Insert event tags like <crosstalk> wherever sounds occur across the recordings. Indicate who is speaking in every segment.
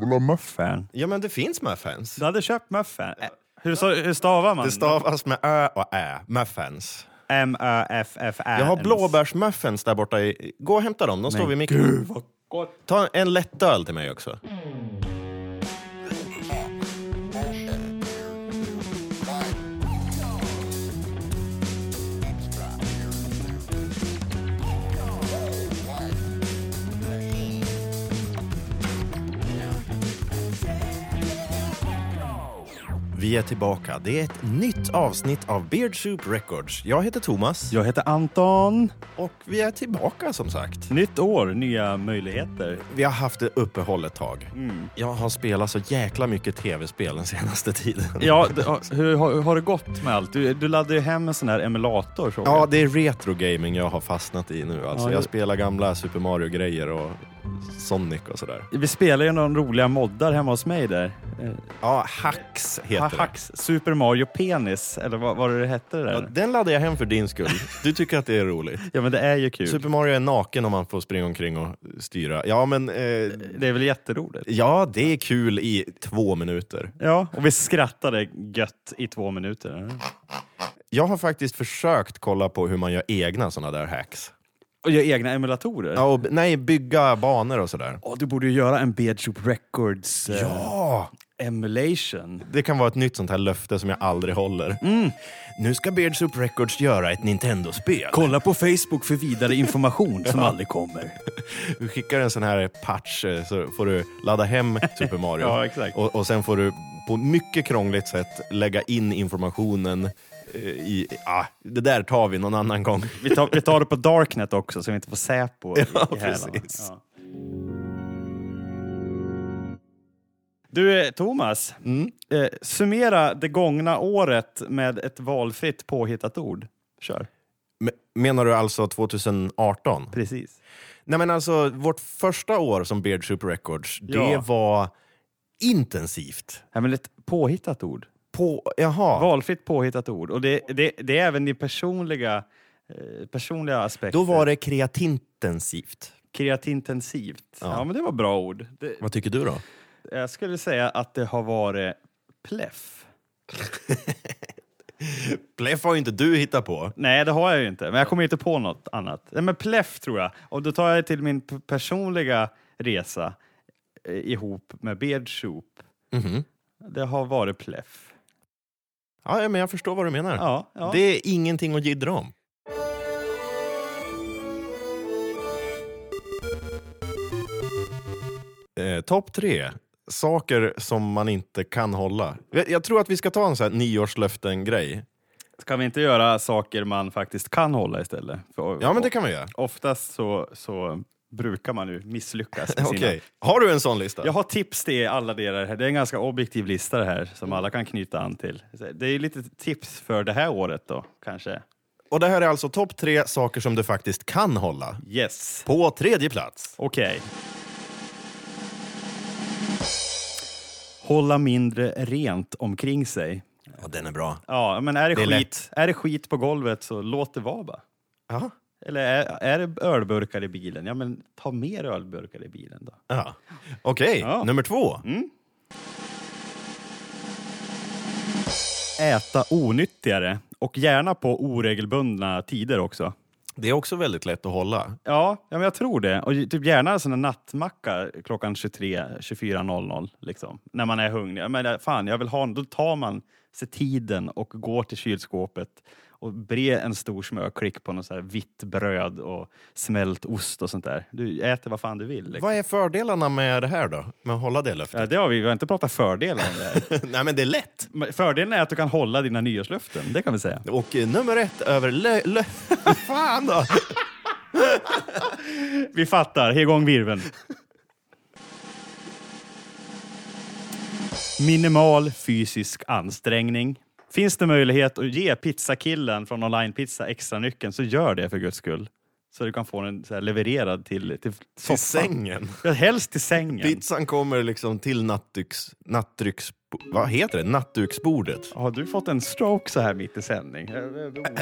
Speaker 1: vill ha muffen.
Speaker 2: Ja, men det finns muffins.
Speaker 1: Du hade köpt muffen. Hur, så, hur stavar man?
Speaker 2: Det stavas med ö och ä. Muffins.
Speaker 1: M-Ö-F-F-Ä.
Speaker 2: Jag har blåbärsmuffins där borta. I... Gå och hämta dem. De står vid micken.
Speaker 1: Gud vad gott.
Speaker 2: Ta en lättöl till mig också. Vi är tillbaka. Det är ett nytt avsnitt av Beard Soup Records. Jag heter Thomas
Speaker 1: Jag heter Anton.
Speaker 2: och vi är tillbaka som sagt.
Speaker 1: Nytt år, nya
Speaker 2: <laughs>
Speaker 1: möjligheter.
Speaker 2: Vi har haft ett uppehåll ett tag.
Speaker 1: Mm.
Speaker 2: Jag har spelat så jäkla mycket tv-spel den senaste tiden.
Speaker 1: Ja, det, har- hur har, har det gått med allt? Du, du laddade ju hem en sån här emulator. Så.
Speaker 2: <laughs> Ja, det är retrogaming jag har fastnat i nu. Alltså,
Speaker 1: Ja,
Speaker 2: jag
Speaker 1: det-
Speaker 2: spelar gamla Super Mario-grejer och Sonic och sådär.
Speaker 1: Vi spelar ju några roliga moddar hemma hos mig där.
Speaker 2: Ja, Hacks heter
Speaker 1: Ha-
Speaker 2: det.
Speaker 1: Hacks, Super Mario Penis, eller vad vad var det det hette det
Speaker 2: Ja,
Speaker 1: där?
Speaker 2: den laddar jag hem för din skull. Du tycker att det är roligt.
Speaker 1: Ja men det är ju kul.
Speaker 2: Super Mario är naken om man får springa omkring och styra. Ja, men... Eh,
Speaker 1: Det är väl jätteroligt?
Speaker 2: ja, det är kul i två minuter.
Speaker 1: Ja, och vi skrattade gött i två minuter.
Speaker 2: Jag har faktiskt försökt kolla på hur man gör egna sådana där hacks.
Speaker 1: Och gör egna emulatorer?
Speaker 2: Ja, och, b- nej, bygga banor och sådär.
Speaker 1: Åh, du borde ju göra en Beardshop Records eh,
Speaker 2: Ja!
Speaker 1: emulation.
Speaker 2: Det kan vara ett nytt sånt här löfte som jag aldrig håller.
Speaker 1: Mm.
Speaker 2: Nu ska Beards Up Records göra ett Nintendo-spel.
Speaker 1: Kolla på Facebook för vidare information som aldrig kommer.
Speaker 2: Du skickar en sån här patch eh, så får du ladda hem Super Mario.
Speaker 1: <laughs> Ja, exakt.
Speaker 2: Och, och sen får du på mycket krångligt sätt lägga in informationen eh, i... Ah, det där tar vi någon annan gång.
Speaker 1: Vi tar, vi tar det på Darknet också så vi inte får Säpo i,
Speaker 2: Ja,
Speaker 1: i hälarna.
Speaker 2: precis.
Speaker 1: Ja. Du eh, Thomas, eh, summera det gångna året med ett valfritt påhittat ord. Kör.
Speaker 2: Men- Menar du alltså 2018?
Speaker 1: Precis.
Speaker 2: Nej men alltså, vårt första år som Beard Super Records, det
Speaker 1: Ja.
Speaker 2: var intensivt.
Speaker 1: Ja, men ett påhittat ord.
Speaker 2: På, jaha,
Speaker 1: Valfritt påhittat ord. Och det, det, det är även din personliga, eh, personliga aspekter.
Speaker 2: då var det kreatintensivt.
Speaker 1: Kreatintensivt. Ja. men det var bra ord. Det,
Speaker 2: Vad tycker du då?
Speaker 1: jag skulle säga att det har varit pleff.
Speaker 2: Pleff har ju inte du hittat på.
Speaker 1: Nej, det har jag ju inte. Men jag kommer inte på något annat. Nej, men pleff tror jag. Och då tar jag det till min p- personliga resa eh, ihop med Beardsoup.
Speaker 2: Mhm.
Speaker 1: Det har varit pleff.
Speaker 2: Ja, ja, men jag förstår vad du menar.
Speaker 1: Ja, ja.
Speaker 2: Det är ingenting att jiddra om. Eh, Topp tre. Saker som man inte kan hålla. Jag, jag tror att vi ska ta en sån här nyårslöften-grej.
Speaker 1: Ska vi inte göra saker man faktiskt kan hålla istället? För,
Speaker 2: Ja, men det kan vi göra.
Speaker 1: Oftast så, så brukar man ju misslyckas.
Speaker 2: <laughs>
Speaker 1: Med
Speaker 2: Okej.
Speaker 1: sina...
Speaker 2: Har du en sån lista?
Speaker 1: Jag har tips till alla delar här. Det är en ganska objektiv lista det här som alla kan knyta an till. Så Det är lite tips för det här året då, kanske.
Speaker 2: Och det här är alltså topp tre saker som du faktiskt kan hålla.
Speaker 1: Yes.
Speaker 2: På tredje plats.
Speaker 1: Okej. Hålla mindre rent omkring sig.
Speaker 2: Ja, den är bra.
Speaker 1: Ja, men är det,
Speaker 2: Det är
Speaker 1: skit,
Speaker 2: lätt.
Speaker 1: är det skit på golvet så låt det vara bara.
Speaker 2: Ja.
Speaker 1: Eller är, är det ölburkar i bilen? Ja, men ta mer ölburkar i bilen då.
Speaker 2: Ja. Mm. Okej,
Speaker 1: Ja.
Speaker 2: nummer två.
Speaker 1: Äta onyttigare och gärna på oregelbundna tider också.
Speaker 2: Det är också väldigt lätt att hålla.
Speaker 1: Ja, ja men jag tror det. Och ju- typ gärna såna nattmacka klockan 23, 24.00 liksom. När man är hungrig. Men eh, fan, jag vill ha en. Då tar man sig tiden och går till kylskåpet och brer en stor smörklick på något så här vitt bröd och smält ost och sånt där. Du äter vad fan du vill. Liksom.
Speaker 2: Vad är fördelarna med det här då? Med att hålla det löftet?
Speaker 1: Ja, det har vi, vi har inte pratat fördelar om det här.
Speaker 2: <laughs> Nej, men det är lätt.
Speaker 1: Men Fördelen är att du kan hålla dina nyårslöften, det kan vi säga.
Speaker 2: Och eh, nummer ett över lö... lö <laughs> fan <laughs> då!
Speaker 1: Vi fattar, Här igång virveln. Minimal fysisk ansträngning. Finns det möjlighet att ge pizzakillen från Online Pizza extra nyckeln så gör det för guds skull. Så du kan få den så här levererad till, till soffan.
Speaker 2: Till sängen.
Speaker 1: Ja, helst till sängen.
Speaker 2: Pizzan kommer liksom till nattdyx, nattdrycks vad heter det? Nattduksbordet.
Speaker 1: Har du fått en stroke så här mitt i sändning? Jag är orolig.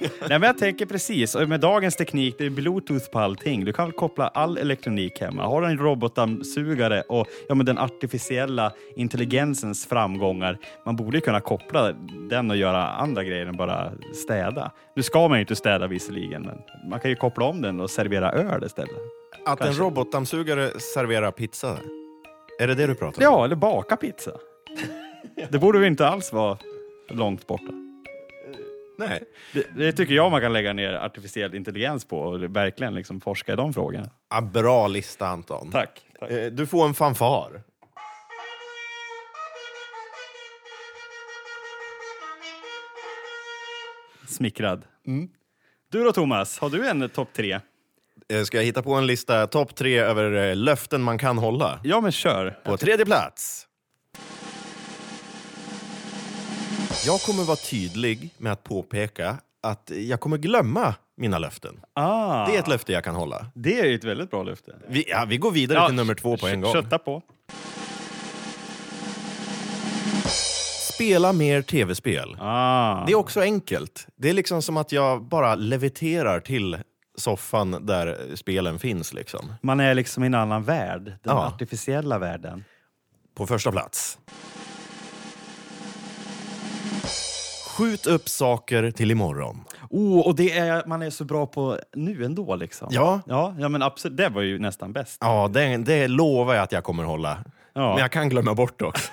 Speaker 1: Nej, men jag tänker precis, och med dagens teknik, det är bluetooth på allting. Du kan väl koppla all elektronik hemma. Har du en robotdammsugare och ja, men den artificiella intelligensens framgångar, man borde ju kunna koppla den och göra andra grejer än bara städa. Nu ska man ju inte städa visserligen, men man kan ju koppla om den och servera öl istället.
Speaker 2: Att
Speaker 1: Kanske.
Speaker 2: en robotdammsugare serverar pizza. Är det det du pratar om?
Speaker 1: Ja, eller baka pizza. Det borde ju inte alls vara långt borta.
Speaker 2: Nej.
Speaker 1: Det, det tycker jag man kan lägga ner artificiell intelligens på och verkligen liksom forska i de frågorna.
Speaker 2: Ja, bra lista Anton.
Speaker 1: Tack. tack.
Speaker 2: Eh, Du får en fanfar.
Speaker 1: Smickrad. Du då Thomas, har du en topp tre?
Speaker 2: Eh, Ska jag hitta på en lista, topp tre över eh, löften man kan hålla?
Speaker 1: Ja men kör.
Speaker 2: På tredje plats. Jag kommer vara tydlig med att påpeka att jag kommer glömma mina löften.
Speaker 1: Ah,
Speaker 2: Det är
Speaker 1: det,
Speaker 2: ett löfte jag kan hålla.
Speaker 1: är ju ett väldigt bra löfte.
Speaker 2: Vi, ja, vi går vidare till nummer två på en gång.
Speaker 1: Kötta på.
Speaker 2: Spela mer tv-spel.
Speaker 1: Ah.
Speaker 2: Det är också enkelt. Det är liksom som att jag bara leviterar till soffan där spelen finns. Liksom.
Speaker 1: Man är liksom i en annan värld, den
Speaker 2: Ja.
Speaker 1: artificiella världen.
Speaker 2: På första plats. Skjut upp saker till imorgon.
Speaker 1: Oh, och det är man är så bra på nu ändå liksom.
Speaker 2: Ja.
Speaker 1: Ja, ja men absolut. Det var ju nästan bäst.
Speaker 2: Ja, det, det lovar jag att jag kommer hålla.
Speaker 1: Ja.
Speaker 2: Men jag kan glömma bort
Speaker 1: <laughs>
Speaker 2: det också.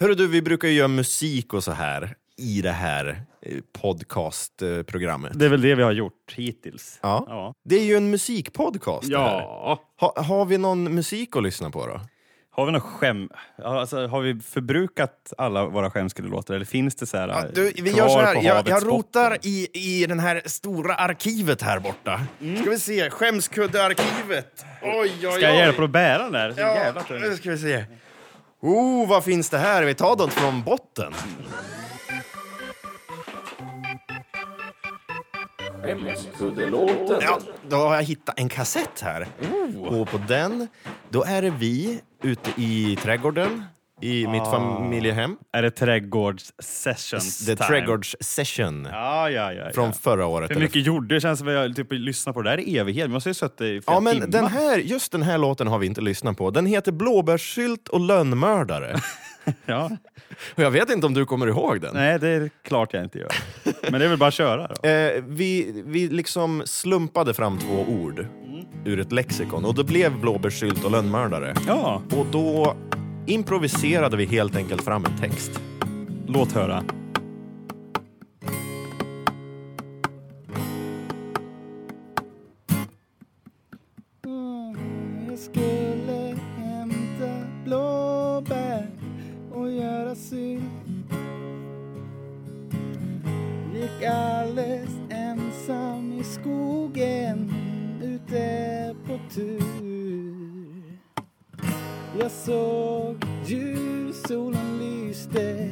Speaker 2: Hörru du, vi brukar ju göra musik och så här i det här eh, podcastprogrammet.
Speaker 1: Det är väl det vi har gjort hittills.
Speaker 2: Ja.
Speaker 1: Ja.
Speaker 2: Det är ju en musikpodcast det här.
Speaker 1: ja.
Speaker 2: Ha, har vi någon musik att lyssna på då?
Speaker 1: Har vi något skäm? ja, Alltså, har vi förbrukat alla våra skämskullelåtar eller finns det så här
Speaker 2: Ja, du, vi
Speaker 1: kvar
Speaker 2: gör så här.
Speaker 1: på
Speaker 2: Jag,
Speaker 1: havets
Speaker 2: jag rotar
Speaker 1: botten?
Speaker 2: i, i den här stora arkivet här borta. Ska vi se, skämskuddearkivet. Oj, oj, oj.
Speaker 1: Mm. Ska jag hjälpa dig att bära den där? Så jävla
Speaker 2: Ja,
Speaker 1: tung.
Speaker 2: nu ska vi se. Oh, vad finns det här? Vi tar dem från botten.
Speaker 3: Skämskuddelåten.
Speaker 2: Ja, då har jag hittat en kassett här.
Speaker 1: Oh.
Speaker 2: Och på den, då är det vi ute i trädgården i mitt
Speaker 1: Ah.
Speaker 2: familjehem.
Speaker 1: Är det trädgårds-sessions
Speaker 2: The
Speaker 1: time?
Speaker 2: Trädgårds Session
Speaker 1: Ja, ja, ja.
Speaker 2: från
Speaker 1: ja.
Speaker 2: förra året.
Speaker 1: Hur
Speaker 2: eller
Speaker 1: mycket gjorde? Det känns som att jag typ lyssnar på det där i evighet. Vi måste ju ha suttit i flera
Speaker 2: Ja, men
Speaker 1: timmar.
Speaker 2: den här, just den här låten har vi inte lyssnat på. Den heter Blåbärssylt
Speaker 1: <laughs>
Speaker 2: och lönnmördare.
Speaker 1: Ja.
Speaker 2: och jag vet inte om du kommer ihåg den.
Speaker 1: Nej, det är klart jag inte gör. Men det är väl bara att köra då.
Speaker 2: Eh, vi, vi liksom slumpade fram två ord ur ett lexikon och det blev blåbärssylt och lönnmördare.
Speaker 1: Ja,
Speaker 2: Och då improviserade vi helt enkelt fram en text.
Speaker 1: låt höra. Mm,
Speaker 4: Jag skulle hämta blåbär och göra sylt Gick alldeles ensam i skogen ute på tur Jag såg ljus, solen lyste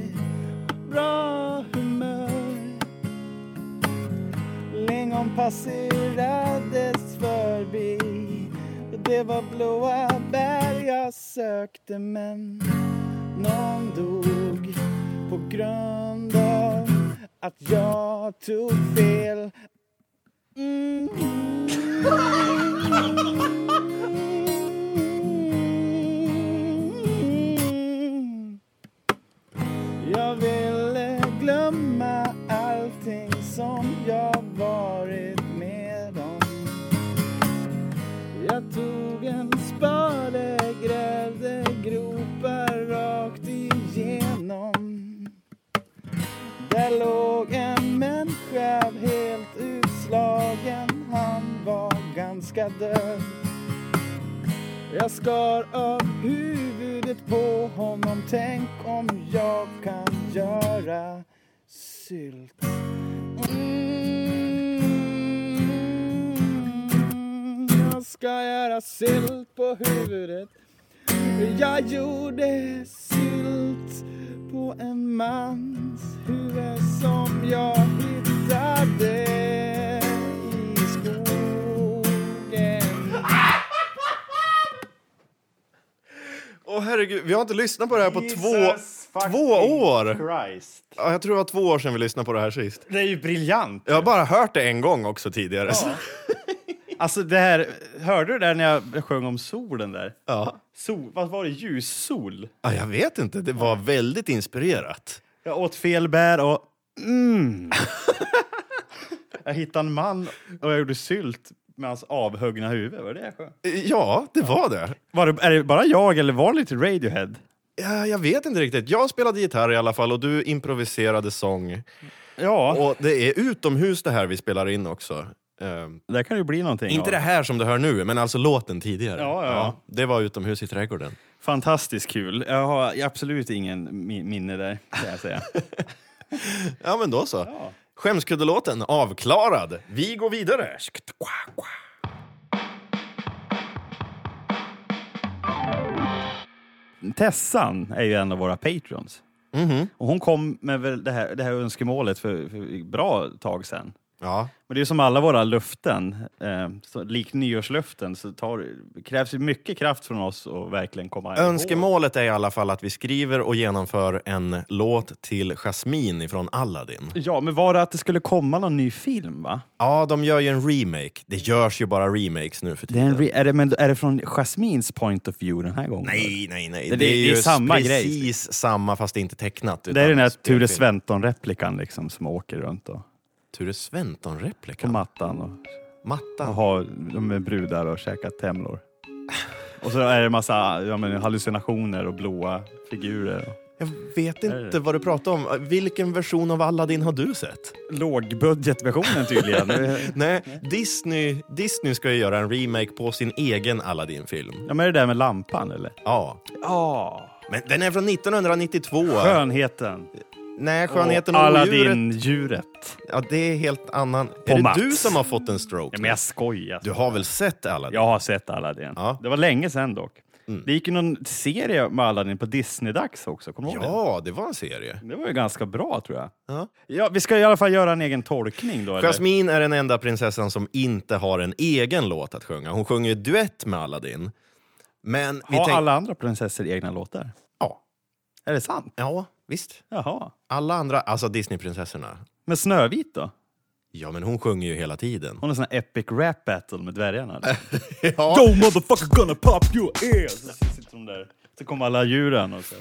Speaker 4: Bra humör Lingon passerades förbi och Det var blåa bär jag sökte men någon dog på grund av att jag tog fel mm. Jag ville glömma allting som jag varit med om Jag tog en spade, grävde gropar rakt igenom Där låg en människa helt utslagen Han var ganska död jag skar av huvudet på honom Tänk om jag kan göra sylt mm, Jag ska göra sylt på huvudet Jag gjorde sylt på en mans huvud som jag hittade i skogen
Speaker 2: herregud, vi har inte lyssnat på det här på två,
Speaker 1: Jesus fucking
Speaker 2: två år.
Speaker 1: Christ.
Speaker 2: Ja, jag tror det var två år sedan vi lyssnade på det här sist.
Speaker 1: Det är ju briljant!
Speaker 2: Jag har bara hört det en gång också tidigare. så-
Speaker 1: Alltså det här, hörde du det där när jag sjöng om solen där?
Speaker 2: <laughs> Ja.
Speaker 1: Sol, vad var det? Ljussol?
Speaker 2: Ja, jag vet inte, det var väldigt inspirerat.
Speaker 1: Jag åt fel bär och... Mm. jag hittade en man och jag gjorde sylt med hans avhuggna huvud. Var det det jag sjöng?
Speaker 2: Ja, det var det.
Speaker 1: var det, Är det bara jag eller var det lite Radiohead?
Speaker 2: Ja, jag vet inte riktigt. Jag spelade gitarr i alla fall och du improviserade sång.
Speaker 1: Ja,
Speaker 2: Och det är utomhus det här vi spelar in också. Ehm,
Speaker 1: där kan det ju bli någonting.
Speaker 2: inte
Speaker 1: av.
Speaker 2: det här som du hör nu, men alltså låten tidigare.
Speaker 1: Ja, ja.
Speaker 2: det var utomhus i trädgården.
Speaker 1: Fantastiskt kul. Jag har absolut ingen mi- minne där, kan jag säga.
Speaker 2: Ja, men då så. Skämskuddelåten avklarad. Vi går vidare.
Speaker 1: Tessan är ju en av våra patreons. Och hon kom med väl det, här, det här önskemålet för, för bra tag sedan.
Speaker 2: Ja,
Speaker 1: Men det är ju som alla våra löften, eh, så, likt nyårslöften, så tar, krävs ju mycket kraft från oss att verkligen komma ihåg.
Speaker 2: önskemålet är i alla fall att vi skriver och genomför en låt till Jasmine ifrån Aladdin.
Speaker 1: Ja, men var det att det skulle komma någon ny film? va?
Speaker 2: Ja, de gör ju en remake. Det görs ju bara remakes nu för
Speaker 1: Det är,
Speaker 2: tiden.
Speaker 1: en re- är, det, men är det från Jasmines point of view den här gången?
Speaker 2: Nej, nej, nej.
Speaker 1: Det- det är
Speaker 2: ju
Speaker 1: samma grej.
Speaker 2: precis samma fast inte tecknat.
Speaker 1: Det är den här Ture
Speaker 2: spelfilm.
Speaker 1: Sventon-replikan liksom, som åker runt och,
Speaker 2: Ture Sventon-replika.
Speaker 1: på mattan och, och
Speaker 2: Mattan.
Speaker 1: har de är brudar och käkar temlor. Och så är det massa ja, men, hallucinationer och blåa figurer.
Speaker 2: Jag vet inte vad du pratar om. Vilken version av Aladdin har du sett?
Speaker 1: Lågbudgetversionen tydligen.
Speaker 2: Nej, Disney, Disney ska ju göra en remake på sin egen Aladdin-film.
Speaker 1: <laughs> ja, men är det där med lampan eller?
Speaker 2: Ja.
Speaker 1: Ja.
Speaker 2: Men den är från 1992.
Speaker 1: Skönheten.
Speaker 2: Nej, Skönheten och, odjuret.
Speaker 1: Aladdin-djuret.
Speaker 2: Ja, det är helt annan. är det
Speaker 1: Mats.
Speaker 2: du som har fått en stroke?
Speaker 1: Ja, men jag skojar.
Speaker 2: Du har väl sett Aladdin?
Speaker 1: Jag har sett Aladdin.
Speaker 2: Ja. Mm.
Speaker 1: Det var länge sedan dock. Det gick ju någon serie med Aladdin på Disney-dags också. Kommer du ihåg
Speaker 2: Ja, det var en serie.
Speaker 1: det? Det var ju ganska bra tror jag.
Speaker 2: Ja.
Speaker 1: Ja, vi ska i alla fall göra en egen tolkning då. Eller?
Speaker 2: Jasmine är den enda prinsessan som inte har en egen låt att sjunga. Hon sjunger duett med Aladdin. Men vi
Speaker 1: Har
Speaker 2: tänk-
Speaker 1: alla andra prinsessor egna låtar?
Speaker 2: Ja.
Speaker 1: Är det sant?
Speaker 2: ja, visst.
Speaker 1: Jaha.
Speaker 2: Alla andra, alltså Disneyprinsessorna.
Speaker 1: Men Snövit då?
Speaker 2: Ja, men hon sjunger ju hela tiden.
Speaker 1: Hon har sån här epic rap battle med dvärgarna.
Speaker 2: Ja.
Speaker 1: Yo motherfucker gonna pop your ears! Så sitter de där. Så kommer alla djuren och så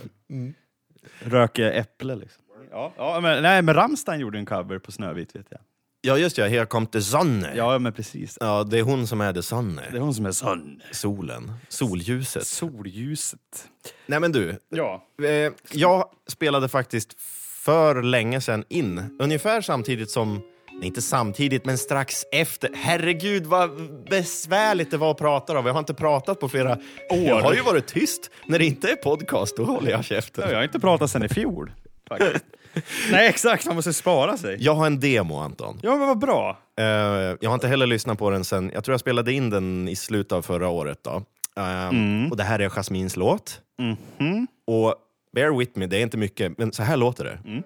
Speaker 1: röker äpple liksom. Ja, ja men, nej, men Rammstein gjorde en cover på Snövit vet jag.
Speaker 2: ja, just ja. Here come the sun. Ja.
Speaker 1: Ja, men precis.
Speaker 2: det är hon som är the sun.
Speaker 1: Det är hon som är sån.
Speaker 2: Solen. Solljuset.
Speaker 1: Solljuset.
Speaker 2: Nej, men du.
Speaker 1: Ja.
Speaker 2: Eh, jag spelade faktiskt för länge sedan in, ungefär samtidigt som Nej, inte samtidigt, men strax efter. Herregud, vad besvärligt det var att prata om. Jag har inte pratat på flera år. Jag har ju varit tyst. När det inte är podcast, då håller jag
Speaker 1: Jag
Speaker 2: käften.
Speaker 1: har inte pratat sen i fjol. faktiskt. nej, exakt. Man måste spara sig.
Speaker 2: Jag har en demo, Anton.
Speaker 1: Ja, men vad bra.
Speaker 2: Eh, jag har inte heller lyssnat på den sen... Jag tror jag spelade in den i slutet av förra året. Då. Eh,
Speaker 1: Mm.
Speaker 2: Och det här är Jasmins låt.
Speaker 1: Mhm.
Speaker 2: Och bear with me, det är inte mycket, men så här låter det.
Speaker 1: Mm.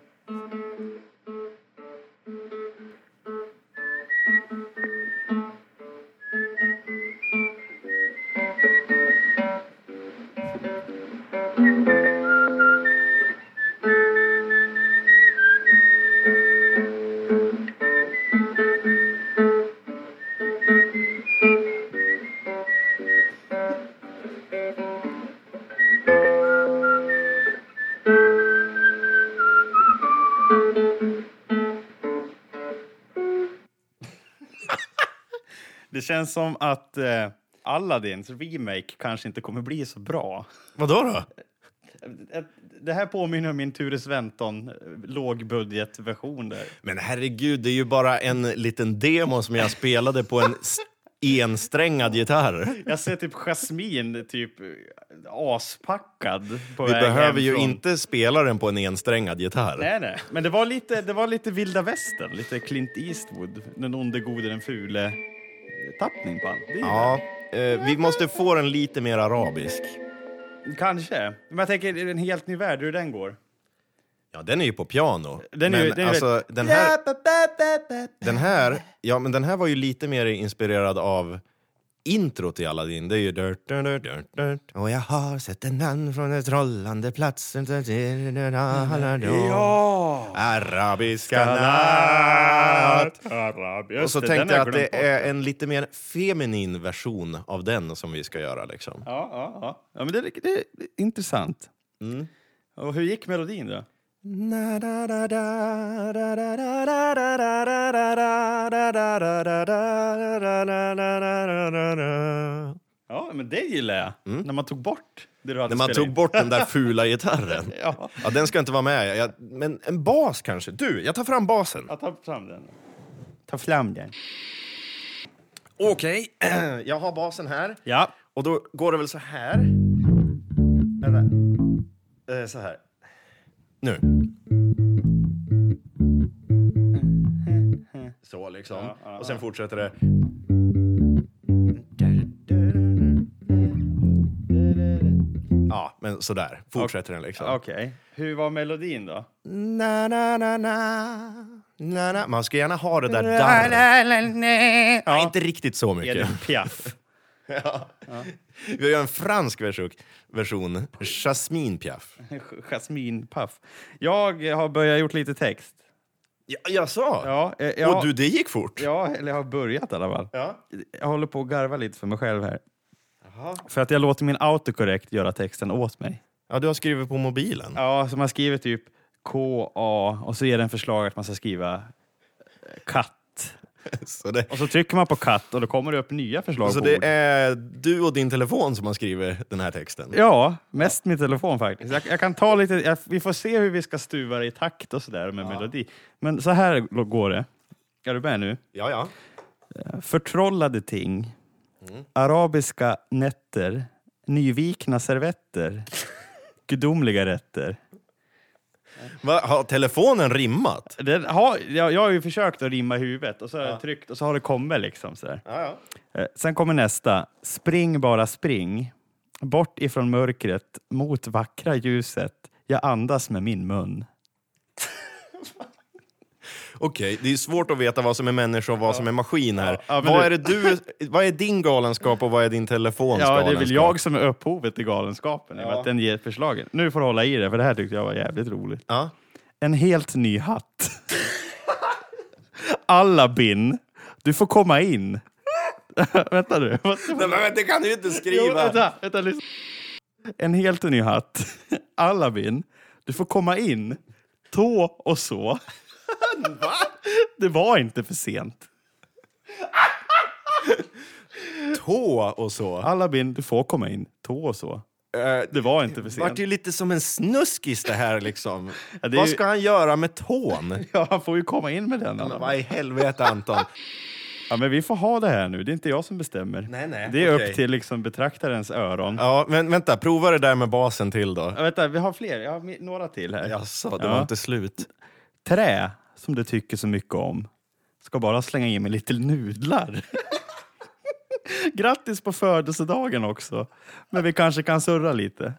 Speaker 1: Det känns som att eh, Aladdins remake kanske inte kommer bli så bra.
Speaker 2: Vadå då?
Speaker 1: Ett- Det här påminner om min Ture Sventon eh, lågbudgetversion där.
Speaker 2: Men herregud, det är ju bara en liten demo som jag spelade på en s- ensträngad gitarr.
Speaker 1: Jag ser typ Jasmine typ eh, aspackad på
Speaker 2: Vi
Speaker 1: väg
Speaker 2: behöver ju
Speaker 1: hemifrån.
Speaker 2: inte spela den på en ensträngad gitarr.
Speaker 1: Nej, nej. Men det var lite, det var lite vilda västern, lite Clint Eastwood. Den onde, gode, den fule. eh, Tappning på han. Det är ju
Speaker 2: Ja, eh, vi måste få den lite mer arabisk.
Speaker 1: det. Kanske. Men jag tänker, det är en helt ny värld hur den går.
Speaker 2: Ja, den är ju på piano.
Speaker 1: Den är
Speaker 2: men
Speaker 1: ju- den är
Speaker 2: alltså,
Speaker 1: väldigt-
Speaker 2: den här... Den här, ja, men den här var ju lite mer inspirerad av introt i Aladdin, det är ju... Dirt, dirt, dirt, dirt, dirt. Och jag har sett en man från ett rollande plats...
Speaker 1: Ja!
Speaker 2: Arabiska natt. Och så tänkte jag att det
Speaker 1: är...
Speaker 2: är en lite mer feminin version av den som vi ska göra. Liksom.
Speaker 1: Ja, ja, ja. ja men det, är- det är intressant.
Speaker 2: Mm.
Speaker 1: Och hur gick melodin då? Ja, men det gillar jag. När man tog bort det du hade
Speaker 2: Mm. När man
Speaker 1: spelat
Speaker 2: tog
Speaker 1: in.
Speaker 2: bort
Speaker 1: <laughs>
Speaker 2: den där fula gitarren.
Speaker 1: Ja,
Speaker 2: Ja, den ska inte vara med. Jag, men en bas kanske? Du, jag tar fram basen.
Speaker 1: jag tar fram den. Ta fram den.
Speaker 2: Okej, <clears throat> jag har basen här.
Speaker 1: Ja.
Speaker 2: Och då går det väl så här. Vänta. Eh, Så här. Nu. Så liksom. Och sen fortsätter det. Ja, men så där. Fortsätter den liksom.
Speaker 1: Okej. Hur var melodin då?
Speaker 2: Na, na, na, na. Na, na. Man ska gärna ha det där darret. Ja. Inte riktigt så mycket.
Speaker 1: Edith <laughs> Piaf.
Speaker 2: Ja. Vi gör en fransk version, version. Jasmine Piaf.
Speaker 1: Jasmine Paff. Jag har börjat gjort lite text.
Speaker 2: Ja, jag sa.
Speaker 1: Ja, eh, ja,
Speaker 2: Och du, det gick fort.
Speaker 1: ja, eller jag har börjat i alla fall.
Speaker 2: Ja.
Speaker 1: Jag håller på att garva lite för mig själv här. För att jag låter min autocorrect göra texten åt mig.
Speaker 2: Ja, du har skrivit på mobilen.
Speaker 1: Ja, så man skriver typ K-A och så ger den förslag att man ska skriva eh, katt.
Speaker 2: Så, det,
Speaker 1: Och så trycker man på katt och då kommer det upp nya förslag
Speaker 2: så
Speaker 1: på ord.
Speaker 2: Alltså, det är du och din telefon som har skrivit den här texten?
Speaker 1: Ja, mest min telefon faktiskt. Jag, jag kan ta lite, jag, vi får se hur vi ska stuva det i takt och sådär med melodi. Men så här l- går det. Är du med nu?
Speaker 2: ja. ja.
Speaker 1: Förtrollade ting,
Speaker 2: Mm.
Speaker 1: arabiska nätter, nyvikna
Speaker 2: <laughs>
Speaker 1: servetter, gudomliga rätter.
Speaker 2: Va, har telefonen rimmat?
Speaker 1: Den har, jag, jag har ju försökt att rimma i huvudet och så har jag tryckt och så har det kommit liksom sådär.
Speaker 2: Ja, ja.
Speaker 1: Eh, Sen kommer nästa. Spring bara spring. Bort ifrån mörkret, mot vackra ljuset. Jag andas med min mun.
Speaker 2: Okej, det är svårt att veta vad som är människa och vad som är maskin här.
Speaker 1: Ja, men
Speaker 2: vad,
Speaker 1: du-
Speaker 2: är det du, vad är din galenskap och vad är din telefons
Speaker 1: Ja, det är
Speaker 2: galenskap?
Speaker 1: väl jag som är upphovet till galenskapen, i och med att den ger förslagen. Nu får du hålla i det, för det här tyckte jag var jävligt roligt.
Speaker 2: Ja.
Speaker 1: En helt ny hatt. Alabin, du får komma in. <laughs> vänta nu. vad ska-
Speaker 2: Nej, men vänta, det kan du inte skriva!
Speaker 1: Jo, vänta, vänta, lyssna. En helt ny hatt. <laughs> Alabin, du får komma in. Tå och så. <laughs> Va? Det var inte för sent.
Speaker 2: Tå och så.
Speaker 1: Alabin, du får komma in. Tå och så.
Speaker 2: Eh,
Speaker 1: Det var inte för
Speaker 2: Det vart
Speaker 1: sent.
Speaker 2: ju lite som en snuskis det här liksom.
Speaker 1: Ja, det är
Speaker 2: Vad
Speaker 1: ju-
Speaker 2: ska han göra med tån?
Speaker 1: Ja, han får ju komma in med den. Alabin.
Speaker 2: Vad i helvete Anton?
Speaker 1: Ja, men vi får ha det här nu. Det är inte jag som bestämmer.
Speaker 2: Nej, nej,
Speaker 1: Det är
Speaker 2: okej.
Speaker 1: upp till liksom betraktarens öron.
Speaker 2: Ja, men vänta, prova det där med basen till då.
Speaker 1: Ja, Vänta, vi har fler. Jag har mi- några till här.
Speaker 2: Jaså, det
Speaker 1: Ja.
Speaker 2: var inte slut.
Speaker 1: Trä, som du tycker så mycket om, ska bara slänga in med lite nudlar. <laughs> Grattis på födelsedagen också. Men vi kanske kan surra lite.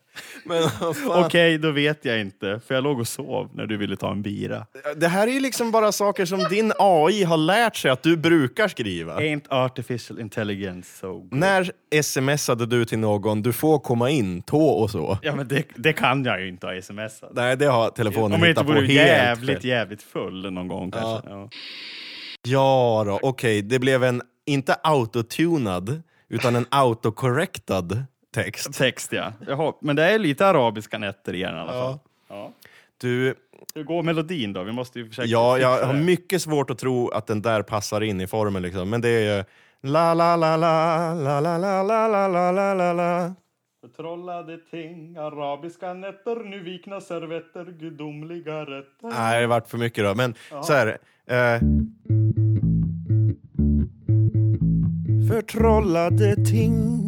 Speaker 2: Men vad fan.
Speaker 1: Okej, då vet jag inte. För jag låg och sov när du ville ta en bira.
Speaker 2: Det här är ju liksom bara saker som din AI har lärt sig att du brukar skriva.
Speaker 1: Ain't artificial intelligence so good.
Speaker 2: När smsade du till någon, du får komma in, tå och så?
Speaker 1: Ja, men det, det kan jag ju inte ha smsat.
Speaker 2: Nej, det har telefonen
Speaker 1: Om jag inte
Speaker 2: hittat på
Speaker 1: vore
Speaker 2: helt
Speaker 1: jävligt,
Speaker 2: fel.
Speaker 1: jävligt full någon gång kanske. Ja.
Speaker 2: Ja då, okej, det blev en, inte autotunad, utan en autocorrectad text.
Speaker 1: Text ja. Jaha. Men det är lite arabiska nätter igen i alla fall. Ja.
Speaker 2: Du,
Speaker 1: Hur går melodin då? Vi måste ju försöka
Speaker 2: Ja,
Speaker 1: fixa
Speaker 2: jag har
Speaker 1: det.
Speaker 2: mycket svårt att tro att den där passar in i formen liksom. Men det är ju... La la la la la la la la la la la la la
Speaker 1: Förtrollade ting, arabiska nätter, nu vikna servetter, gudomliga rätter.
Speaker 2: <laughs> Nej, det vart för mycket då. Men så här... Eh, Förtrollade ting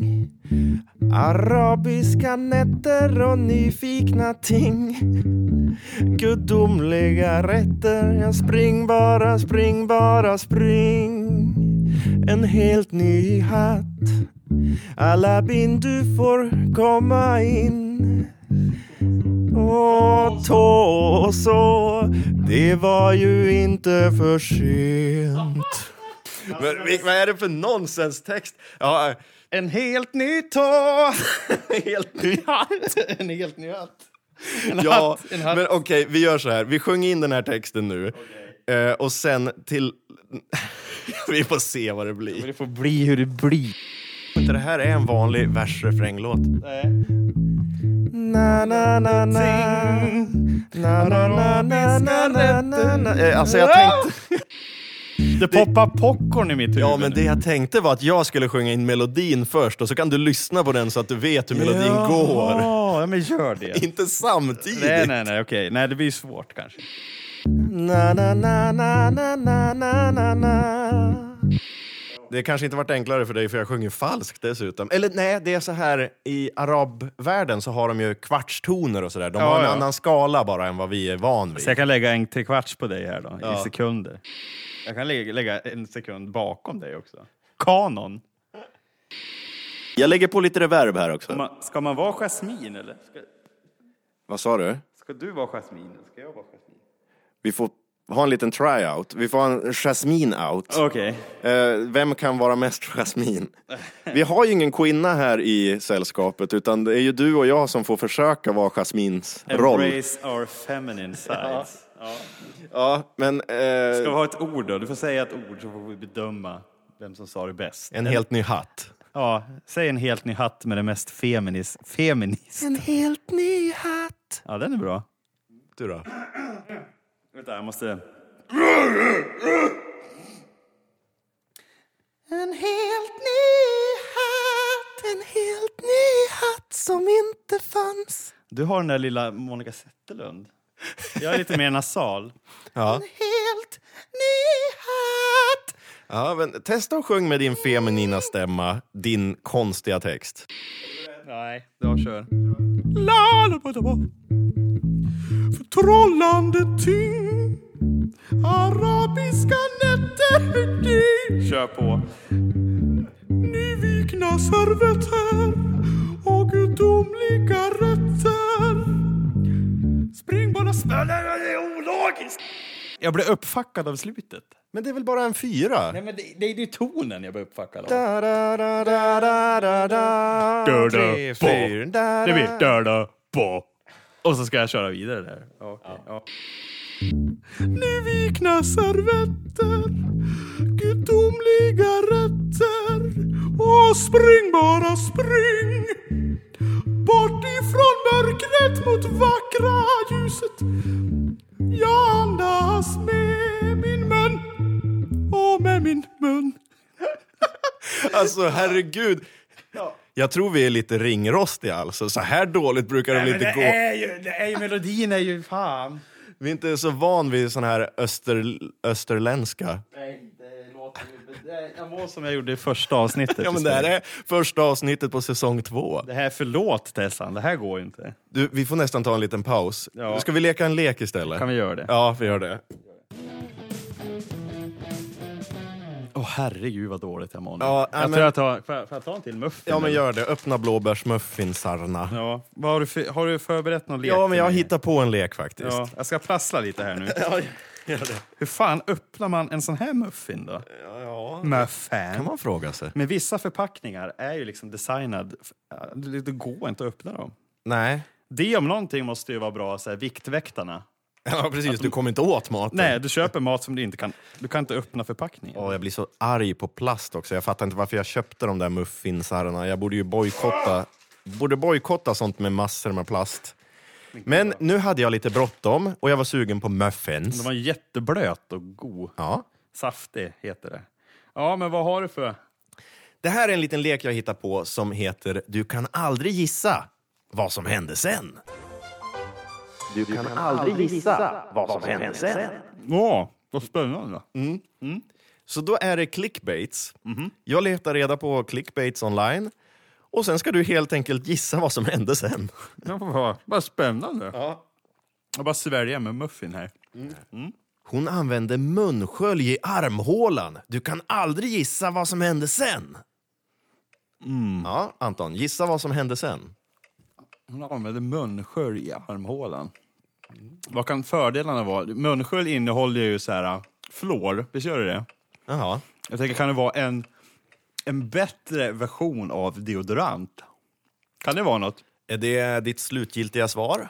Speaker 2: Arabiska nätter och nyfikna ting Gudomliga rätter Jag spring bara, spring bara, spring En helt ny hatt Alabin, du får komma in Åh, tå och så Det var ju inte för sent Men, vil- vad är det för nonsenstext? Ja, eh,
Speaker 1: En helt ny tå!
Speaker 2: <laughs> helt ny
Speaker 1: hatt! En helt ny hatt. En
Speaker 2: Ja,
Speaker 1: hatt, en hatt.
Speaker 2: men okej, vi gör så här. Vi sjunger in den här texten nu eh, och sen till... <laughs> vi får se vad det blir.
Speaker 1: Det får bli hur det blir.
Speaker 2: Inte det här är en vanlig versrefränglåt. Na, na, na, na. Na, na, na, na, na, na, na, na. Eh, Alltså jag tänkte,
Speaker 1: <laughs> Det poppar popcorn i mitt huvud.
Speaker 2: ja men det jag tänkte var att jag skulle sjunga in melodin först och så kan du lyssna på den så att du vet hur melodin går.
Speaker 1: Ja, men gör det.
Speaker 2: <laughs> Inte samtidigt.
Speaker 1: Nej, nej, nej, okej. Nej, det blir svårt kanske.
Speaker 2: Na, na, na, na, na, na, na, na, na. Det kanske inte varit enklare för dig för jag sjunger falskt dessutom. Eller nej, det är så här i arabvärlden så har de ju kvartstoner och sådär. De har en
Speaker 1: ja.
Speaker 2: annan skala bara än vad vi är van vid.
Speaker 1: Så jag kan lägga en trekvarts på dig här då,
Speaker 2: Ja.
Speaker 1: i sekunder. Jag kan lä- lägga en sekund bakom dig också. Kanon.
Speaker 2: Jag lägger på lite reverb här också.
Speaker 1: Man, ska man vara Jasmin eller? Ska,
Speaker 2: Vad sa du?
Speaker 1: ska du vara Jasmin eller ska jag vara Jasmin?
Speaker 2: Vi får ha en liten tryout. Vi får ha en Jasmine-out.
Speaker 1: Okej.
Speaker 2: Eh, vem kan vara mest
Speaker 1: <laughs>
Speaker 2: Jasmin? Vi har ju ingen kvinna här i sällskapet utan det är ju du och jag som får försöka vara Jasmins roll.
Speaker 1: Embrace our feminine sides.
Speaker 2: Ja, men...
Speaker 1: Ska
Speaker 2: Eh,
Speaker 1: vi ha ett ord då? Du får säga ett ord så får vi bedöma vem som sa det bäst.
Speaker 2: en helt ny hatt.
Speaker 1: Ja, säg en helt ny hatt med det mest feminis... Feminist.
Speaker 2: En helt ny hatt.
Speaker 1: Ja, den är bra.
Speaker 2: Du då?
Speaker 1: Vänta, jag måste... En helt ny hatt, en helt ny hatt som inte fanns Du har den där lilla Monica Zetterlund. Jag är lite mer nasal.
Speaker 2: Ja.
Speaker 1: Helt ny hatt
Speaker 2: ja, men testa och sjung med din feminina stämma, din konstiga text.
Speaker 1: Nej, jag kör.
Speaker 2: Trollande ting Arabiska nätter med dig
Speaker 1: Kör på.
Speaker 2: Nyvikna servetter och gudomliga rätter Spring bara spölar, det är ologiskt!
Speaker 1: Jag blev uppfackad av slutet.
Speaker 2: Men det är väl bara en fyra?
Speaker 1: Nej, men det, det är ju tonen jag blev uppfackad av.
Speaker 2: Da-da-da-da-da-da.
Speaker 1: Dö-dö.
Speaker 2: Tre, fyra.
Speaker 1: Det
Speaker 2: Da-da.
Speaker 1: blir döda på. Och så ska jag köra vidare där. Okay. Ja.
Speaker 2: Nyvikna servetter Gudomliga rätter Och spring bara spring Bort ifrån mörkret mot vackra ljuset Jag andas med min mun Och med min mun Alltså herregud Jag tror vi är lite ringrostiga alltså. Så här dåligt brukar det väl inte gå?
Speaker 1: ju, det är ju, melodin är ju fan.
Speaker 2: Vi är inte så van vid sån här öster, österländska.
Speaker 1: Nej, det låter ju... Jag mår som jag gjorde i första avsnittet.
Speaker 2: Ja, men det här är första avsnittet på säsong två.
Speaker 1: det här är förlåt Tessan, det här går ju inte.
Speaker 2: Du, vi får nästan ta en liten paus.
Speaker 1: Ja.
Speaker 2: Ska vi leka en lek istället?
Speaker 1: Kan vi göra det?
Speaker 2: Ja, vi gör det.
Speaker 1: Åh herregud vad dåligt jag mår nu.
Speaker 2: Ja,
Speaker 1: jag
Speaker 2: nej, men-
Speaker 1: tror jag tar... Får jag, får jag ta en till muffin?
Speaker 2: Ja, men
Speaker 1: eller?
Speaker 2: gör det. Öppna blåbärsmuffinsarna.
Speaker 1: Ja, vad har, du för, har du förberett någon lek?
Speaker 2: Ja, men
Speaker 1: till
Speaker 2: jag
Speaker 1: mig?
Speaker 2: hittar på en lek faktiskt.
Speaker 1: Ja, jag ska prassla lite här nu.
Speaker 2: Ja, gör det.
Speaker 1: Hur fan öppnar man en sån här muffin då?
Speaker 2: Ja,
Speaker 1: Muffin.
Speaker 2: kan man fråga sig.
Speaker 1: Men vissa förpackningar är ju liksom designad... f- äh, Det det går inte att öppna dem.
Speaker 2: Nej.
Speaker 1: Det om någonting måste ju vara bra, så här, Viktväktarna.
Speaker 2: Ja, precis. Du kommer inte åt maten.
Speaker 1: Nej, du köper mat som du inte kan... Du kan inte öppna förpackningen.
Speaker 2: Åh, jag blir så arg på plast också. Jag fattar inte varför jag köpte de där muffinsarna. Jag borde ju bojkotta, borde bojkotta sånt med massor med plast. Men nu hade jag lite bråttom och jag var sugen på
Speaker 1: Den
Speaker 2: muffins.
Speaker 1: var jätteblöt och god.
Speaker 2: Ja.
Speaker 1: Saftig heter det. Ja, men vad har du för...
Speaker 2: Det här är en liten lek jag hittar på som heter Du kan aldrig gissa vad som hände sen. Du kan, aldrig gissa vad som hände sen.
Speaker 1: Ja, vad spännande.
Speaker 2: Så då är det clickbaits. Jag letar reda på clickbaits online och sen ska du helt enkelt gissa vad som hände sen.
Speaker 1: Ja, vad spännande. Ja. Jag bara sväljer med muffin här.
Speaker 2: Hon använde munskölj i armhålan. Du kan aldrig gissa vad som hände sen. Ja, Anton, gissa vad som hände sen.
Speaker 1: Hon använder munskölj i armhålan. Vad kan fördelarna vara? Munskölj innehåller ju så här... Flor, visst äh, gör det det?
Speaker 2: Jaha.
Speaker 1: Jag tänker, kan det vara en, en bättre version av deodorant? Kan det vara något?
Speaker 2: Är det ditt slutgiltiga svar?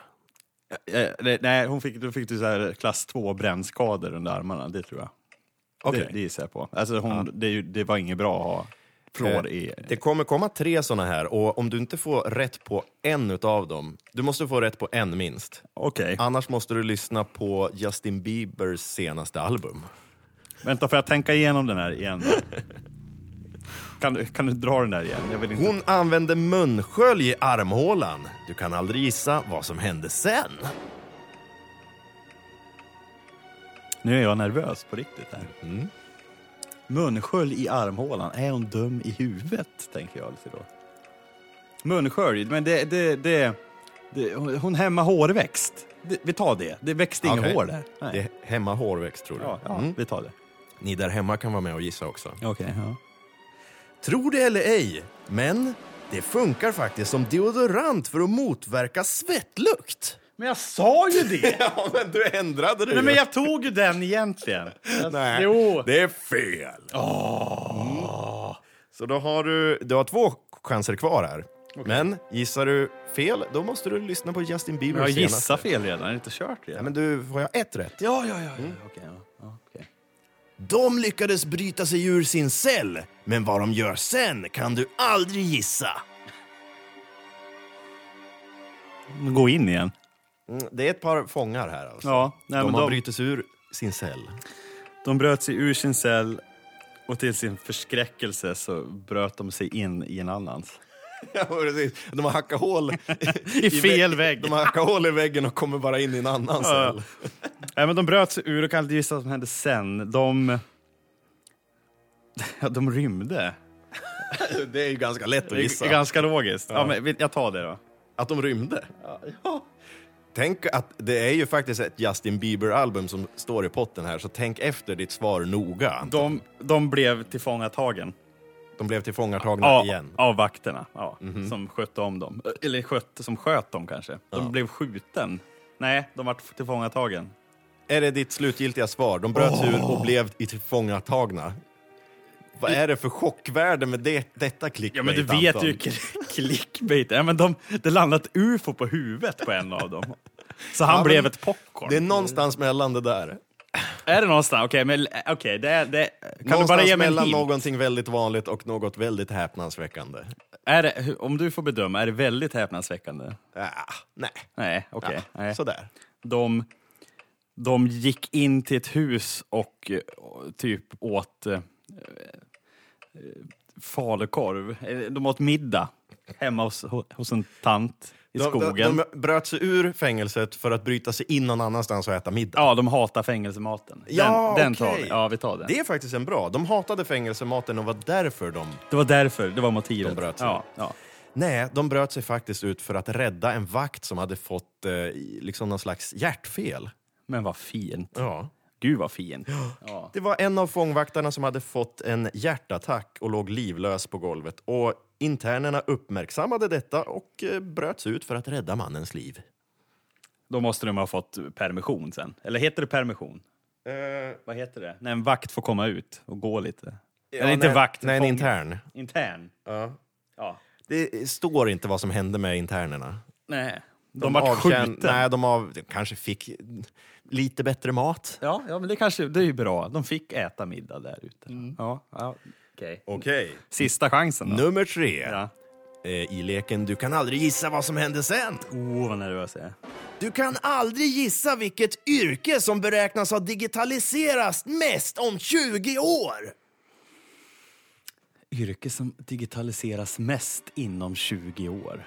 Speaker 1: Eh, det- nej, hon fick, då fick du så här klass 2 brännskador under armarna, det tror jag.
Speaker 2: Okej.
Speaker 1: Det, det gissar jag på. Alltså hon, det, är ju- det var inget bra att ha fluor i.
Speaker 2: Eh, Det kommer komma tre såna här och om du inte får rätt på en utav dem, du måste få rätt på en minst.
Speaker 1: Okej,
Speaker 2: Annars måste du lyssna på Justin Biebers senaste album.
Speaker 1: vänta får jag tänka igenom den här igen? då? kan, du- kan du dra den där igen? Jag vill inte...
Speaker 2: Hon använde munskölj i armhålan. Du kan aldrig gissa vad som hände sen.
Speaker 1: Nu är jag nervös på riktigt här.
Speaker 2: Mm.
Speaker 1: Munskölj i armhålan, är hon dum i huvudet? Tänker jag lite då. Munskölj, men det... det, det, det hon hon hämmar hårväxt. Det, vi tar det. Det växte inget
Speaker 2: Okej.
Speaker 1: hår där. Nej.
Speaker 2: Det är hemma hårväxt tror du.
Speaker 1: ja, ja,
Speaker 2: Mm.
Speaker 1: Vi tar det.
Speaker 2: Ni där hemma kan vara med och gissa också.
Speaker 1: Okej. ja.
Speaker 2: Tror det eller ej, men det funkar faktiskt som deodorant för att motverka svettlukt.
Speaker 1: Men jag sa ju det!
Speaker 2: <laughs> Ja, men du ändrade det
Speaker 1: Nej, men jag tog ju den egentligen.
Speaker 2: Nej,
Speaker 1: Jo.
Speaker 2: det är fel. Mm. Så då har du, du har två chanser kvar här. Men gissar du fel, då måste du lyssna på Justin Bieber
Speaker 1: Men jag
Speaker 2: senast.
Speaker 1: gissade fel redan, jag har inte kört
Speaker 2: Ja,
Speaker 1: redan.
Speaker 2: men du, får jag ett rätt?
Speaker 1: Ja, ja, ja. ja. Okej, ja. ja okej.
Speaker 2: De lyckades bryta sig ur sin cell, men vad de gör sen kan du aldrig gissa.
Speaker 1: Gå in igen.
Speaker 2: Mm, Det är ett par fångar här alltså.
Speaker 1: Ja, nej,
Speaker 2: de
Speaker 1: men
Speaker 2: har
Speaker 1: de-
Speaker 2: brutit sig ur sin cell.
Speaker 1: De bröt sig ur sin cell och till sin förskräckelse så bröt de sig in i en annans.
Speaker 2: <laughs> Ja, precis. De har hackat <laughs> hål i,
Speaker 1: I fel
Speaker 2: vä-
Speaker 1: vägg.
Speaker 2: De har hackat hål i väggen och kommer bara in i en annan cell.
Speaker 1: Nej, men de bröt sig ur och kan inte gissa vad som hände sen. De... <laughs> Ja, de rymde.
Speaker 2: Det är ju ganska lätt
Speaker 1: Det
Speaker 2: att gissa.
Speaker 1: är ganska logiskt. Ja, men vi- jag tar det då.
Speaker 2: Att de rymde? Tänk att det är ju faktiskt ett Justin Bieber-album som står i potten här, så tänk efter ditt svar noga. De,
Speaker 1: De, de blev tillfångatagen.
Speaker 2: blev tillfångatagna
Speaker 1: Av,
Speaker 2: igen.
Speaker 1: av vakterna. Ja, Som skötte om dem. Eller sköt, som sköt dem kanske. De blev skjuten. Nej, de var tillfångatagen.
Speaker 2: Är det ditt slutgiltiga svar? De bröt sig ur och blev i tillfångatagna. Vad är det för chockvärde med det, detta
Speaker 1: Ja,
Speaker 2: clickbait,
Speaker 1: men du vet
Speaker 2: Anton?
Speaker 1: ju <laughs> clickbait. Ja, men de, det landade ett ufo på huvudet på en av dem. Så han
Speaker 2: Ja, men-
Speaker 1: blev ett popcorn.
Speaker 2: Det är någonstans mellan det där.
Speaker 1: Är det någonstans? Okej, men okej, det, är- det, kan du
Speaker 2: någonstans
Speaker 1: bara ge mig en
Speaker 2: mellan
Speaker 1: hint?
Speaker 2: någonting väldigt vanligt och något väldigt häpnadsväckande.
Speaker 1: Är det, hur- om du får bedöma, är det väldigt häpnadsväckande?
Speaker 2: Ah, nej.
Speaker 1: Nej, okej.
Speaker 2: Ah,
Speaker 1: nej.
Speaker 2: Sådär.
Speaker 1: de, de gick in till ett hus och eh, typ åt eh, eh, falukorv. Eh, De åt middag hemma hos, hos en tant i skogen.
Speaker 2: De, de bröt sig ur fängelset för att bryta sig in någon annanstans och äta middag.
Speaker 1: Ja, de hatar fängelsematen. Den,
Speaker 2: Ja,
Speaker 1: den
Speaker 2: okej.
Speaker 1: tar vi. Ja, vi tar den. Det,
Speaker 2: Det är faktiskt en bra. De hatade fängelsematen och var därför de...
Speaker 1: var därför, det var motivet.
Speaker 2: De bröt sig.
Speaker 1: ja, ja.
Speaker 2: Nej, de bröt sig faktiskt ut för att rädda en vakt som hade fått eh, i- liksom någon slags hjärtfel.
Speaker 1: Men vad fint.
Speaker 2: Ja.
Speaker 1: Gud vad fint. Ja.
Speaker 2: Det var en av fångvaktarna som hade fått en hjärtattack och låg livlös på golvet. Och internerna uppmärksammade detta och eh, bröt sig ut för att rädda mannens liv.
Speaker 1: Då måste de ha fått permission sen. Eller heter det permission?
Speaker 2: Eh,
Speaker 1: Vad heter det? När en vakt får komma ut och gå lite. Eller inte
Speaker 2: nej,
Speaker 1: vakt.
Speaker 2: Nej, en
Speaker 1: fång-
Speaker 2: intern.
Speaker 1: Intern. Ja.
Speaker 2: Det står inte vad som hände med internerna.
Speaker 1: Nej. De, vart
Speaker 2: avtjän-
Speaker 1: skjutna.
Speaker 2: Nej, de av, de kanske fick lite bättre mat.
Speaker 1: Ja, ja, men det kanske, det är ju bra. De fick äta middag där ute. Ja, ja. okej.
Speaker 2: Okej.
Speaker 1: Sista chansen då.
Speaker 2: Nummer tre.
Speaker 1: Ja.
Speaker 2: Eh, I leken Du kan aldrig gissa vad som hände sen.
Speaker 1: Oh, vad nervös jag är.
Speaker 2: Du kan aldrig gissa vilket yrke som beräknas ha digitaliserats mest om 20 år.
Speaker 1: yrke som digitaliseras mest inom 20 år.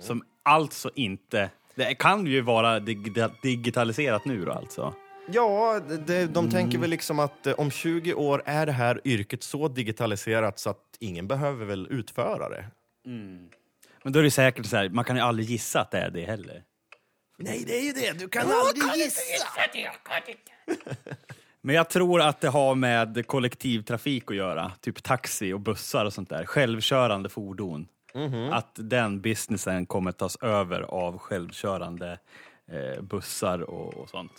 Speaker 1: Som alltså inte... Det kan ju vara dig- digitaliserat nu då alltså.
Speaker 2: Ja, det, de tänker väl liksom att eh, om 20 år är det här yrket så digitaliserat så att ingen behöver väl utföra det.
Speaker 1: Men då är det säkert så här, man kan ju aldrig gissa att det är det heller.
Speaker 2: Nej, det är ju det. Du kan aldrig gissa.
Speaker 1: Men jag tror att det har med kollektivtrafik att göra. Typ taxi och bussar och sånt där. Självkörande fordon. Att den businessen kommer tas över av självkörande eh, bussar och, och sånt.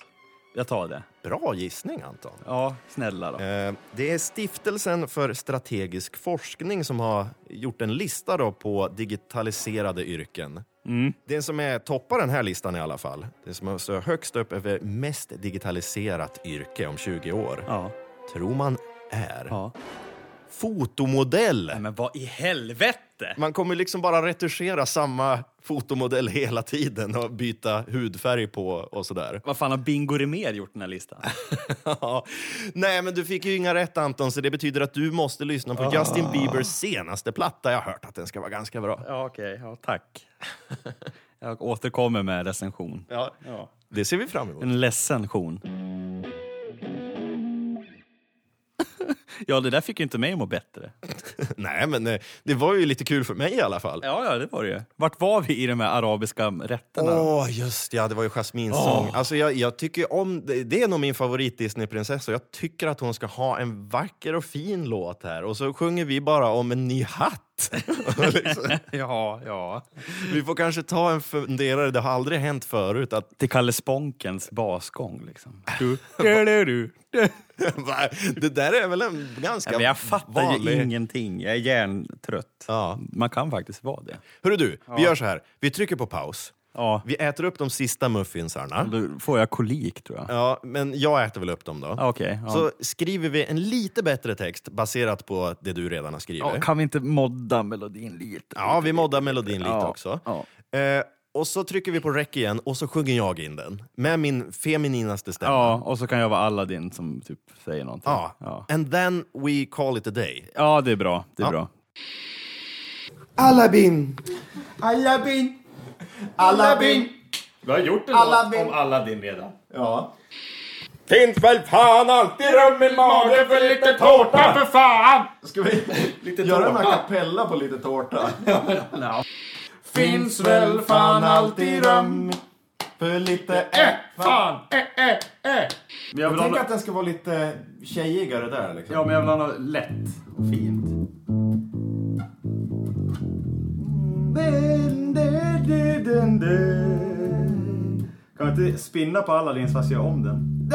Speaker 1: Jag tar det.
Speaker 2: Bra gissning, Anton.
Speaker 1: Ja, snälla då.
Speaker 2: Eh, Det är Stiftelsen för strategisk forskning som har gjort en lista då på digitaliserade yrken.
Speaker 1: Mm.
Speaker 2: Det som är toppar den här listan i alla fall, det som står högst upp över mest digitaliserat yrke om 20 år,
Speaker 1: Ja.
Speaker 2: tror man är
Speaker 1: ja.
Speaker 2: fotomodell.
Speaker 1: Men vad i helvete!
Speaker 2: Man kommer liksom bara retuschera samma fotomodell hela tiden och byta hudfärg på och sådär.
Speaker 1: Vad fan har Bingo Rimér gjort den här listan?
Speaker 2: Ja. Nej, men du fick ju inga rätt Anton, så det betyder att du måste lyssna
Speaker 1: Ah.
Speaker 2: på Justin Biebers senaste platta. Jag har hört att den ska vara ganska bra.
Speaker 1: ja, okej. Ja, tack. Jag återkommer med recension.
Speaker 2: Ja. Mm. Det ser vi fram emot.
Speaker 1: En ledsension. ja, det där fick ju inte mig att må bättre.
Speaker 2: <laughs> Nej, men eh, det var ju lite kul för mig i alla fall.
Speaker 1: Ja, ja, det var det ju. Vart var vi i de här arabiska rätterna? då?
Speaker 2: Åh, just ja, det var ju Jasmins sång. Alltså, jag, jag tycker om, det, det är nog min favorit Disney-prinsessa. Jag tycker att hon ska ha en vacker och fin låt här. Och så sjunger vi bara om en ny hatt. <laughs> Och liksom,
Speaker 1: <laughs> Ja, ja.
Speaker 2: vi får kanske ta en funderare, det har aldrig hänt förut att
Speaker 1: Till Kalle Spånkens basgång liksom. Du, du, du, du, du.
Speaker 2: Va? det där är väl en ganska
Speaker 1: Ja, men jag fattar
Speaker 2: vanlig...
Speaker 1: ju ingenting. Jag är hjärntrött.
Speaker 2: Ja.
Speaker 1: Man kan faktiskt vara det.
Speaker 2: Hörru du, vi gör så här. Vi trycker på paus.
Speaker 1: Ja.
Speaker 2: Vi äter upp de sista muffinsarna.
Speaker 1: Då får jag kolik, tror jag.
Speaker 2: Ja, men jag äter väl upp dem då.
Speaker 1: Ja, Okej. ja.
Speaker 2: Så skriver vi en lite bättre text baserat på det du redan har skrivit.
Speaker 1: ja.
Speaker 2: Ja,
Speaker 1: Kan vi inte modda melodin lite?
Speaker 2: vi moddar melodin lite
Speaker 1: Ja,
Speaker 2: också.
Speaker 1: ja.
Speaker 2: Eh, och så trycker vi på rec igen och så sjunger jag in den. Med min femininaste stämma.
Speaker 1: Ja, och så kan jag vara Aladdin som typ säger någonting.
Speaker 2: Ja.
Speaker 1: ja.
Speaker 2: And then we call it a day.
Speaker 1: Ja, det är bra. Det är
Speaker 2: Ja.
Speaker 1: bra.
Speaker 5: Alabin! Alabin! Alabin!
Speaker 1: Vi har gjort en
Speaker 5: Aladdin. om
Speaker 1: Aladdin redan.
Speaker 5: Ja.
Speaker 3: Finns väl fan alltid rum i magen för lite tårta för fan!
Speaker 5: Ska vi göra en a cappella på lite tårta? Finns väl fan alltid rum för lite äppa.
Speaker 3: Fan, eh, eh, eh.
Speaker 1: Men jag
Speaker 5: Jag
Speaker 1: vill ha
Speaker 5: tänker
Speaker 2: <laughs>
Speaker 1: något,
Speaker 5: att den ska vara lite tjejigare där liksom.
Speaker 1: ja, men jag vill ha något lätt och fint. Kan man inte spinna på Aladdins fast göra om den?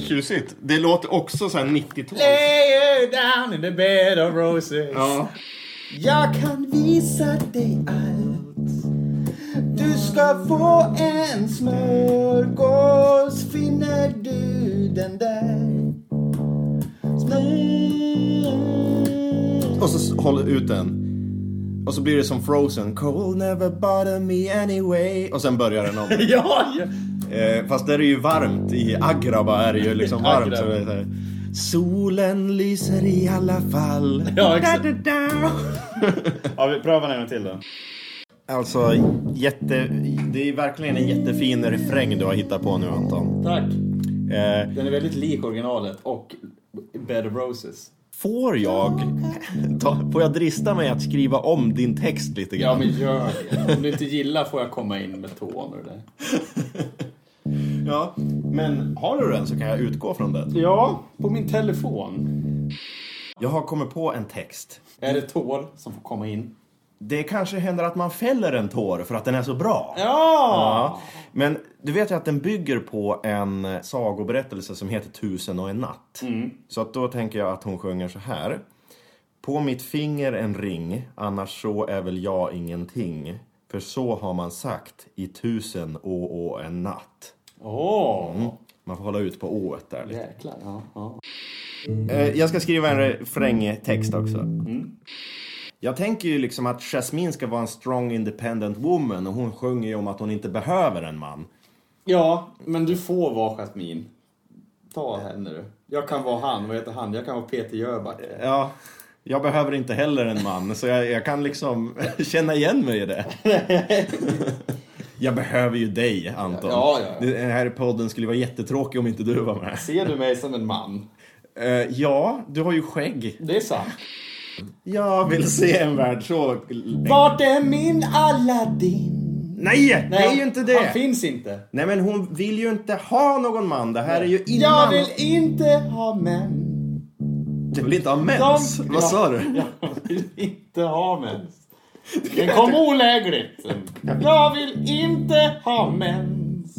Speaker 2: Tjusigt. Det låter också så 90-tal.
Speaker 4: Lay you down in the bed of roses. Jag kan visa dig allt. Du ska få en smörgås. Finner du den där? Smör.
Speaker 5: Och så håller ut den. Och så blir det som Frozen. Cold never bother me anyway. Och sen börjar den om.
Speaker 4: Ja, ja.
Speaker 5: Eh, fast där är det ju varmt. I Agraba är det ju
Speaker 4: <laughs>
Speaker 5: liksom varmt. Så det är så här. Solen lyser i alla fall.
Speaker 4: <laughs> ja exakt. Ja, vi prövar en gång till då.
Speaker 5: Alltså, jätte, det är verkligen en jättefin refräng du har hittat på nu Anton.
Speaker 4: Tack.
Speaker 5: Eh,
Speaker 4: Den är väldigt lik originalet och Bed of Roses.
Speaker 5: får jag, <laughs> ta, får jag drista mig att skriva om din text lite
Speaker 4: Ja,
Speaker 5: grann?
Speaker 4: men gör det. Om du inte gillar får jag komma in med tån och det där.
Speaker 5: Ja, men har du den så kan jag utgå från den.
Speaker 4: Ja, på min telefon.
Speaker 5: Jag har kommit på en text.
Speaker 4: Är det tår som får komma in?
Speaker 5: Det kanske händer att man fäller en tår för att den är så bra.
Speaker 4: Ja!
Speaker 5: Ja, Men du vet ju att den bygger på en sagoberättelse som heter Tusen och en natt.
Speaker 4: Mm.
Speaker 5: Så att då tänker jag att hon sjunger så här. På mitt finger en ring, annars så är väl jag ingenting. För så har man sagt i tusen å och en natt. Mm.
Speaker 4: Åh!
Speaker 5: Man får hålla ut på ået där lite.
Speaker 4: Jäklar. Ja, ja.
Speaker 5: Eh, Jag ska skriva en refrängtext också. Jag tänker ju liksom att Jasmine ska vara en strong independent woman och hon sjunger ju om att hon inte behöver en man.
Speaker 4: ja, men du får vara Jasmine. Ta henne du. Jag kan vara han. Vad heter han? Jag kan vara Peter Jöback.
Speaker 5: Ja, jag behöver inte heller en man så jag, jag kan liksom <laughs> känna igen mig i det.
Speaker 4: <laughs>
Speaker 5: Jag behöver ju dig, Anton.
Speaker 4: Ja, ja, ja.
Speaker 5: Den här podden skulle vara jättetråkig om inte du var med.
Speaker 4: Ser du mig som en man?
Speaker 5: Eh, ja, du har ju skägg.
Speaker 4: Det är sant.
Speaker 5: Jag vill se en värld så...
Speaker 4: Vart är min Aladdin?
Speaker 5: Nej, det är ju inte
Speaker 4: Han
Speaker 5: det!
Speaker 4: finns inte.
Speaker 5: Nej, men hon vill ju inte ha någon man. Det här är ju innan...
Speaker 4: Jag vill inte ha män.
Speaker 5: Du vill inte ha mens?
Speaker 4: De-
Speaker 5: Vad sa du?
Speaker 4: Jag vill inte ha mens. Den kom olägligt. Jag vill inte ha mens.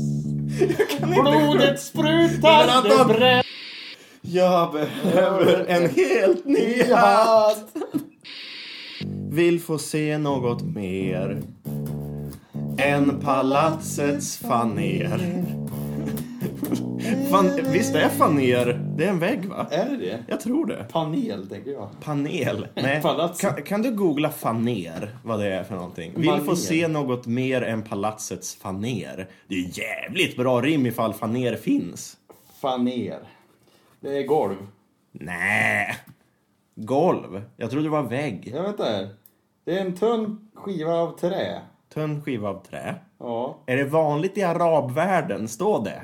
Speaker 4: Blodet sprutar,
Speaker 5: Men Anton-
Speaker 4: det bränner.
Speaker 5: Jag behöver en helt ny hatt. Vill få se något mer än palatsets faner. Fan, visst är faner, det är en vägg va?
Speaker 4: Är det det?
Speaker 5: Jag tror det.
Speaker 4: Panel, tänker jag.
Speaker 5: Panel. Nej.
Speaker 4: Palats.
Speaker 5: Kan, kan du googla faner, vad det är för någonting? Vill
Speaker 4: Faner.
Speaker 5: få se något mer än palatsets faner. Det är ju jävligt bra rim ifall faner finns.
Speaker 4: Faner. Det är golv.
Speaker 5: Nej. Golv. Jag trodde det var vägg.
Speaker 4: Ja, vänta här. Det är en tunn skiva av trä.
Speaker 5: Tunn skiva av trä.
Speaker 4: Ja.
Speaker 5: Är det vanligt i arabvärlden? Står det?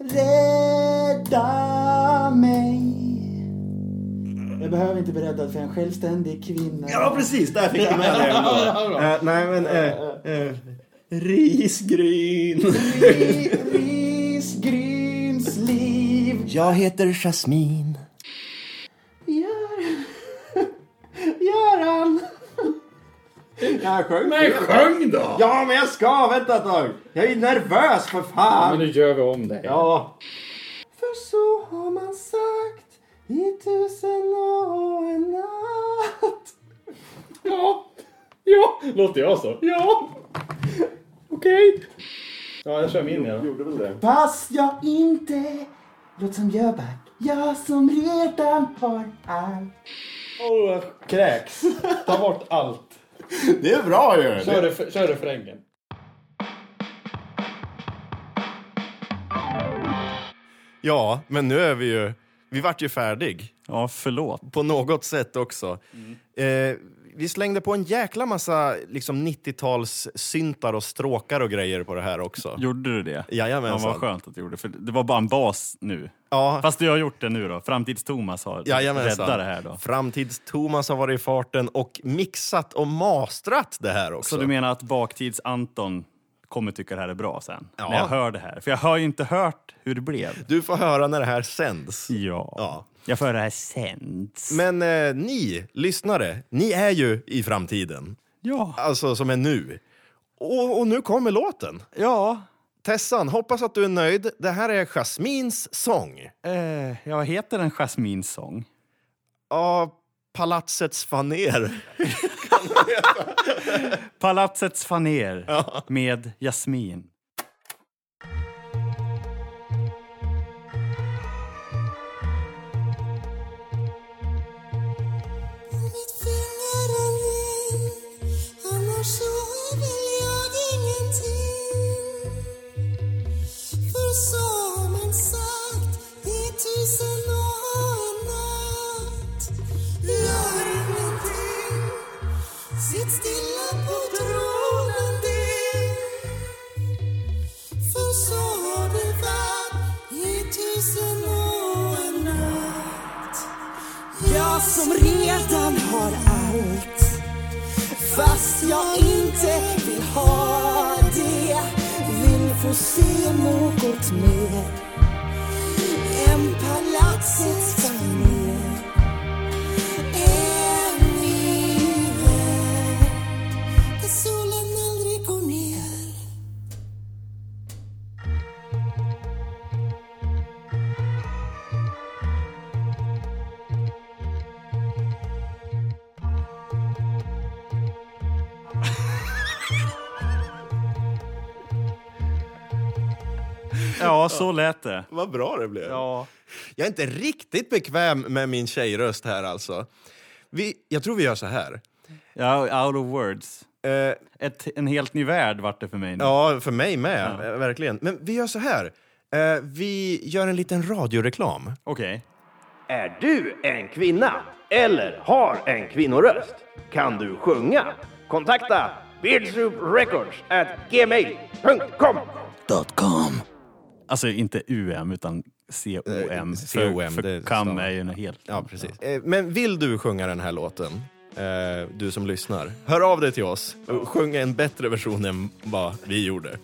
Speaker 4: Rädda mig. Jag behöver inte bli räddad för en självständig kvinna.
Speaker 5: Ja, precis. Där fick du med det <laughs> ändå. Eh, nej, men... eh, eh, risgryn.
Speaker 4: Risgrynsliv.
Speaker 5: Jag heter Jasmin.
Speaker 4: <laughs> Göran!
Speaker 5: Jag sjöng.
Speaker 3: Men sjung då!
Speaker 5: Ja, men jag ska. Vänta ett tag. Jag är nervös för
Speaker 3: Men
Speaker 5: fan.
Speaker 3: nu gör vi om det.
Speaker 5: Ja.
Speaker 4: För så har man sagt i tusen och en natt.
Speaker 3: Ja. Ja. Låter jag så? Ja. Okej. Ja, jag kör min igen.
Speaker 5: Gjorde väl det.
Speaker 4: Fast jag inte låt som Jöback. Jag som redan har allt.
Speaker 3: Åh, jag kräks. Ta bort allt.
Speaker 5: Det är bra ju.
Speaker 3: Kör, ref- kör refrängen.
Speaker 2: Ja, men nu är vi ju... Vi vart ju färdig.
Speaker 1: Ja, förlåt.
Speaker 2: på något sätt också.
Speaker 1: Mm.
Speaker 2: Eh, vi slängde på en jäkla massa liksom, 90-tals syntar och stråkar och grejer på det här också.
Speaker 1: Gjorde du det?
Speaker 2: Jajamensan.
Speaker 1: Ja, vad skönt att du gjorde för det var bara en bas nu.
Speaker 2: Ja.
Speaker 1: Fast du har gjort det nu då. Framtids-Thomas har
Speaker 2: Jajamensan.
Speaker 1: räddat det här då.
Speaker 2: Framtids-Thomas har varit i farten och mixat och mastrat det här också.
Speaker 1: Så du menar att baktids-Anton kommer tycka det här är bra sen?
Speaker 2: Ja.
Speaker 1: När jag hör det här. För jag har ju inte hört hur det blev.
Speaker 2: Du får höra när det här sänds.
Speaker 1: Ja.
Speaker 2: Ja.
Speaker 1: Jag får höra det här sen.
Speaker 2: Men eh, ni lyssnare, ni är ju i framtiden.
Speaker 1: Ja.
Speaker 2: Alltså som är nu. Och, och nu kommer låten.
Speaker 1: Ja.
Speaker 2: Tessan, hoppas att du är nöjd. Det här är Jasmins sång.
Speaker 1: Eh, ja, vad heter den Jasmins sång?
Speaker 2: Ja, palatsets faner. <laughs>
Speaker 1: Palatsets faner med Jasmin.
Speaker 6: Mitt finger är ring, annars så vill jag ingenting. För så har man sagt i tusen och en natt. Gör ingenting, sitt stilla på tronen din. För så har det varit i tusen och en natt. Jag som redan har allt Fast jag inte vill ha det Vill få se något mer Än palatsets faner En ny värld Där solen aldrig går ner
Speaker 1: Ja, så lät det.
Speaker 2: Vad bra det blev.
Speaker 1: Ja.
Speaker 2: Jag är inte riktigt bekväm med min tjejröst här alltså. Vi, jag tror vi gör så här.
Speaker 1: ja out of words.
Speaker 2: Eh,
Speaker 1: Ett, en helt ny värld vart det för mig nu.
Speaker 2: ja, för mig med. eh, Verkligen. Men vi gör så här. Eh, vi gör en liten radioreklam.
Speaker 1: Okej.
Speaker 7: Är du en kvinna eller har en kvinnoröst? Kan du sjunga? Kontakta Beardsoup Records at gmail.com
Speaker 1: Alltså inte UM utan COM.
Speaker 2: Eh,
Speaker 1: För-
Speaker 2: COM,
Speaker 1: för
Speaker 2: det
Speaker 1: COM
Speaker 2: stavar-
Speaker 1: är ju en helt...
Speaker 2: Ja, precis. Eh, men vill du sjunga den här låten? Eh, du som lyssnar. Hör av dig till oss. och Sjung en bättre version än vad vi gjorde.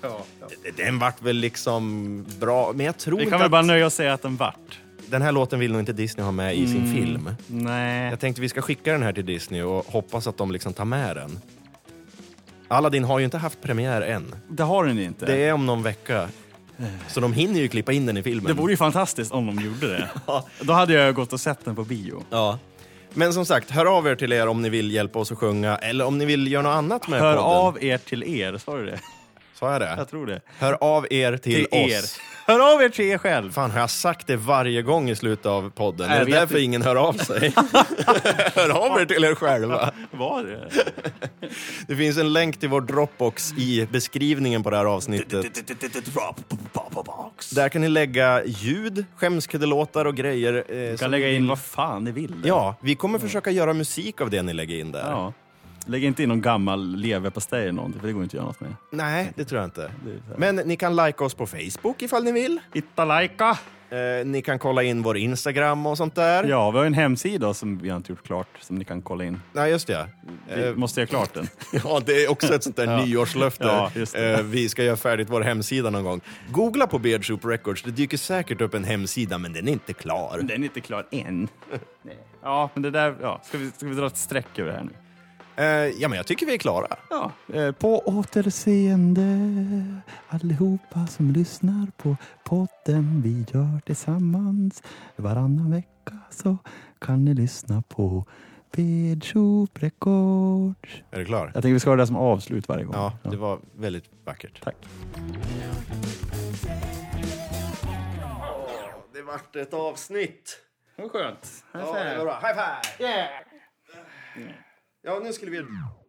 Speaker 2: Den vart väl liksom bra, men jag tror
Speaker 1: Vi
Speaker 2: inte
Speaker 1: kan väl bara
Speaker 2: att-
Speaker 1: nöja oss och säga att den vart.
Speaker 2: Den här låten vill nog inte Disney ha med i
Speaker 1: Mm.
Speaker 2: sin film.
Speaker 1: Nej.
Speaker 2: Jag tänkte vi ska skicka den här till Disney och hoppas att de liksom tar med den. Aladdin har ju inte haft premiär än.
Speaker 1: Det har den inte.
Speaker 2: Det är om någon vecka. Så de hinner ju klippa in den i filmen.
Speaker 1: Det vore ju fantastiskt om de gjorde
Speaker 2: <laughs>
Speaker 1: det. Då hade jag gått och sett den på bio.
Speaker 2: Ja. Men som sagt, hör av er till er om ni vill hjälpa oss att sjunga eller om ni vill göra något annat med
Speaker 1: Hör
Speaker 2: podden.
Speaker 1: av er till er, sa du det?
Speaker 2: Sa jag det?
Speaker 1: Jag tror det.
Speaker 2: Hör av er till,
Speaker 1: Till
Speaker 2: oss.
Speaker 1: er. Hör av er till er själv.
Speaker 2: Fan, har jag sagt det varje gång i slutet av podden?
Speaker 1: Nej,
Speaker 2: är
Speaker 1: jag
Speaker 2: det
Speaker 1: vet
Speaker 2: därför
Speaker 1: inte.
Speaker 2: ingen hör
Speaker 1: <laughs>
Speaker 2: av sig? hör av er till er själva.
Speaker 1: Var det?
Speaker 2: Det finns en länk till vår Dropbox i beskrivningen på det här avsnittet. Där kan ni lägga ljud, skämskuddelåtar och grejer. eh,
Speaker 1: Du
Speaker 2: som-
Speaker 1: kan lägga in vad fan ni vill. där.
Speaker 2: Ja, vi kommer försöka göra musik av det ni lägger in där.
Speaker 1: ja. Lägg inte in någon gammal leverpastej eller någonting, för det går inte att göra något med.
Speaker 2: Nej, det tror jag inte. Men ni kan like oss på Facebook ifall ni vill.
Speaker 1: Hitta lajka!
Speaker 2: Eh, ni kan kolla in vår Instagram och sånt där.
Speaker 1: Ja, vi har ju en hemsida som vi har inte gjort klart, som ni kan kolla in.
Speaker 2: Nej, just det.
Speaker 1: Vi
Speaker 2: Eh,
Speaker 1: måste göra klart den.
Speaker 2: Ja, det är också ett sånt där
Speaker 1: <laughs>
Speaker 2: nyårslöfte.
Speaker 1: Ja, just det.
Speaker 2: Eh, vi ska göra färdigt vår hemsida någon gång. Googla på Beard Soup Records. Det dyker säkert upp en hemsida, men den är inte klar.
Speaker 1: Den är inte klar än. Ja, men det där... Ja. Ska, vi, ska vi dra ett streck över det här nu?
Speaker 2: Eh, ja, men jag tycker vi är klara.
Speaker 1: Ja, eh, på återseende allihopa som lyssnar på podden vi gör tillsammans. Varannan vecka så kan ni lyssna på Bedshop Records.
Speaker 2: Är du klar?
Speaker 1: Jag tänker vi ska ha det där som avslut varje gång.
Speaker 2: Ja, det var väldigt vackert.
Speaker 1: Tack.
Speaker 2: Det vart ett avsnitt.
Speaker 1: Det var skönt.
Speaker 2: Ja, det var bra. High five! Ja, nu skulle vi...